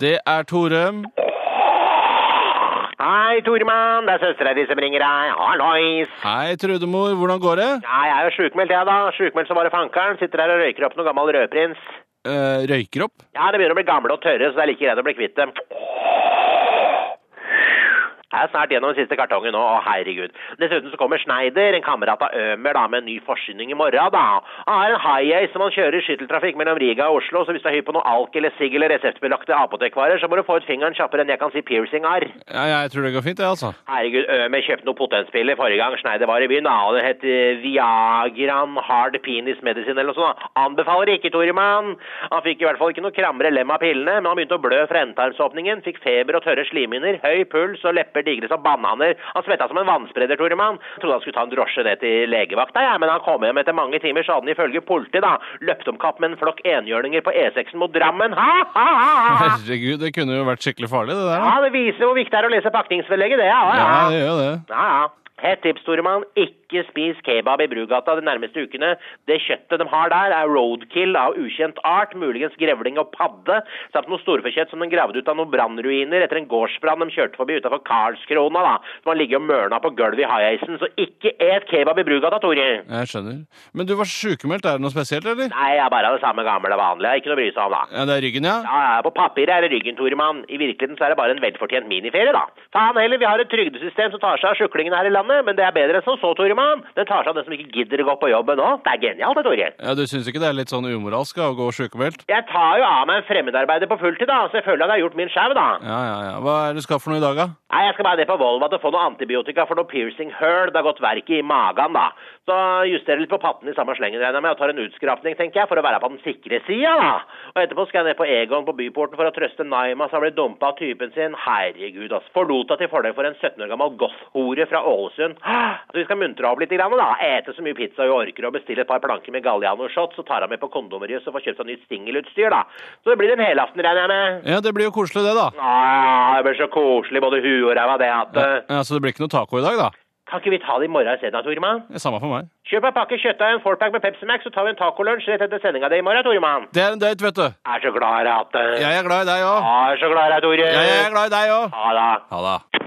Det er Tore. Hei, Toremann. Det er søstera di som ringer deg. Hallois. Hei, Trudemor. Hvordan går det? Nei, jeg er jo sjukmeldt, jeg, da. Sjukmeldt som bare fankeren. Sitter her og røyker opp noen gammel rødprins. Eh, røyker opp? Ja, de begynner å bli gamle og tørre, så det er like greit å bli kvitt dem. Jeg er snart gjennom den siste kartongen nå, å herregud. Dessuten så kommer Schneider, en kamerat av Ømer, da, med en ny forsyning i morgen, da. Han har en high-ace som han kjører i skytteltrafikk mellom Riga og Oslo, så hvis du er hypp på noe alk eller sigg eller reseptbelagte apotekvarer, så må du få ut fingeren kjappere enn jeg kan si piercing-arr. Ja, jeg tror det går fint, det, altså. Herregud, Ømer kjøpte noen potenspiller forrige gang Schneider var i byen. Da. og Det het eh, Viagran Hard Penis Medicine eller noe sånt. da. Anbefaler ikke, Toremann. Han fikk i hvert fall ikke noe krammere lem av pillene, men han begynte å blø fra endetarmsåpningen. Fikk feber og tørre slimhinner, høy puls og lepper digre som bananer. Han svetta som en vannspreder, Toremann. Trodde han skulle ta en drosje ned til legevakta, jeg, men han kom hjem etter mange timer, så hadde han ifølge politiet da løpt om kapp med en flokk enhjørninger på E6-en mot Drammen. Ha, ha, ha, ha! Herregud, det kunne jo vært skikkelig farlig, det der. Ja, da. det viser hvor viktig det er å lese pakningsvedlegget, det. Ja, ja. Ja, det gjør jo det. Ja, ja. Hett tips, Toremann. Ikke spis kebab i Brugata de nærmeste ukene. Det kjøttet de har der, er roadkill av ukjent art, muligens grevling og padde, samt noe storfekjøtt som de gravde ut av noen brannruiner etter en gårdsbrann de kjørte forbi utafor Karlskrona, da. Som har ligget og mørna på gulvet i high-acen. Så ikke et kebab i Brugata, Tore. Jeg skjønner. Men du var sykemeldt. Er det noe spesielt, eller? Nei, jeg er bare av det samme gamle vanlige. Ikke noe å bry seg om, da. Ja, det er ryggen, ja. Ja, ja, på papiret er det ryggen, Toremann. I virkeligheten så er det bare en velfortjent miniferie, da. Faen heller, vi har et trygdesystem som tar seg av sjuklingene her i landet, men det er bedre enn som så, Toremann. Den tar seg av den som ikke gidder å gå på jobben òg. Det er genialt, det, Tore. Ja, Du syns ikke det er litt sånn umoralsk ja, å gå sykemeldt? Jeg tar jo av meg en fremmedarbeider på fulltid, da, så jeg føler at jeg har gjort min skjau, da. Ja, ja, ja. Hva er det du skal for noe i dag, da? Nei, jeg skal bare ned på Volvat og få noe antibiotika for noe piercing hull. Det har gått verk i magen, da. Så justerer jeg litt på patten i samme slengen, regner jeg med, og tar en utskrapning, tenker jeg, for å være på den sikre sida, da. Og etterpå skal jeg ned på Egon på Byporten for å trøste Naima, som ble dumpa av typen sin. Herregud, ass. Forlota til fordel for en 17 år gammel goth-hore fra Ålesund. Så vi skal muntre opp litt, grann, da. Ete så mye pizza vi orker, og bestille et par planker med Galliano-shots, så tar han med på kondomeriet og får kjøpt seg nytt singelutstyr, da. Så det blir en helaften, regner jeg med. Ja, Det blir jo koselig, det, da. Ah, det blir så koselig, både hu og ræva, det at eh, Ja, Så det blir ikke noe taco i dag, da? Kan ikke vi ta det i morgen isteden, Toremann? Ja, Samme for meg. Kjøp en pakke kjøttdeig og en fourpack med Pepsi Max, så tar vi en tacolunsj rett etter sendinga di i morgen, Toremann. Det er en date, vet du. Er så glad i at eh, Jeg er glad i deg òg. ah, Er så glad i deg, Tore. Jeg er glad i deg òg. Ha det. Ha det.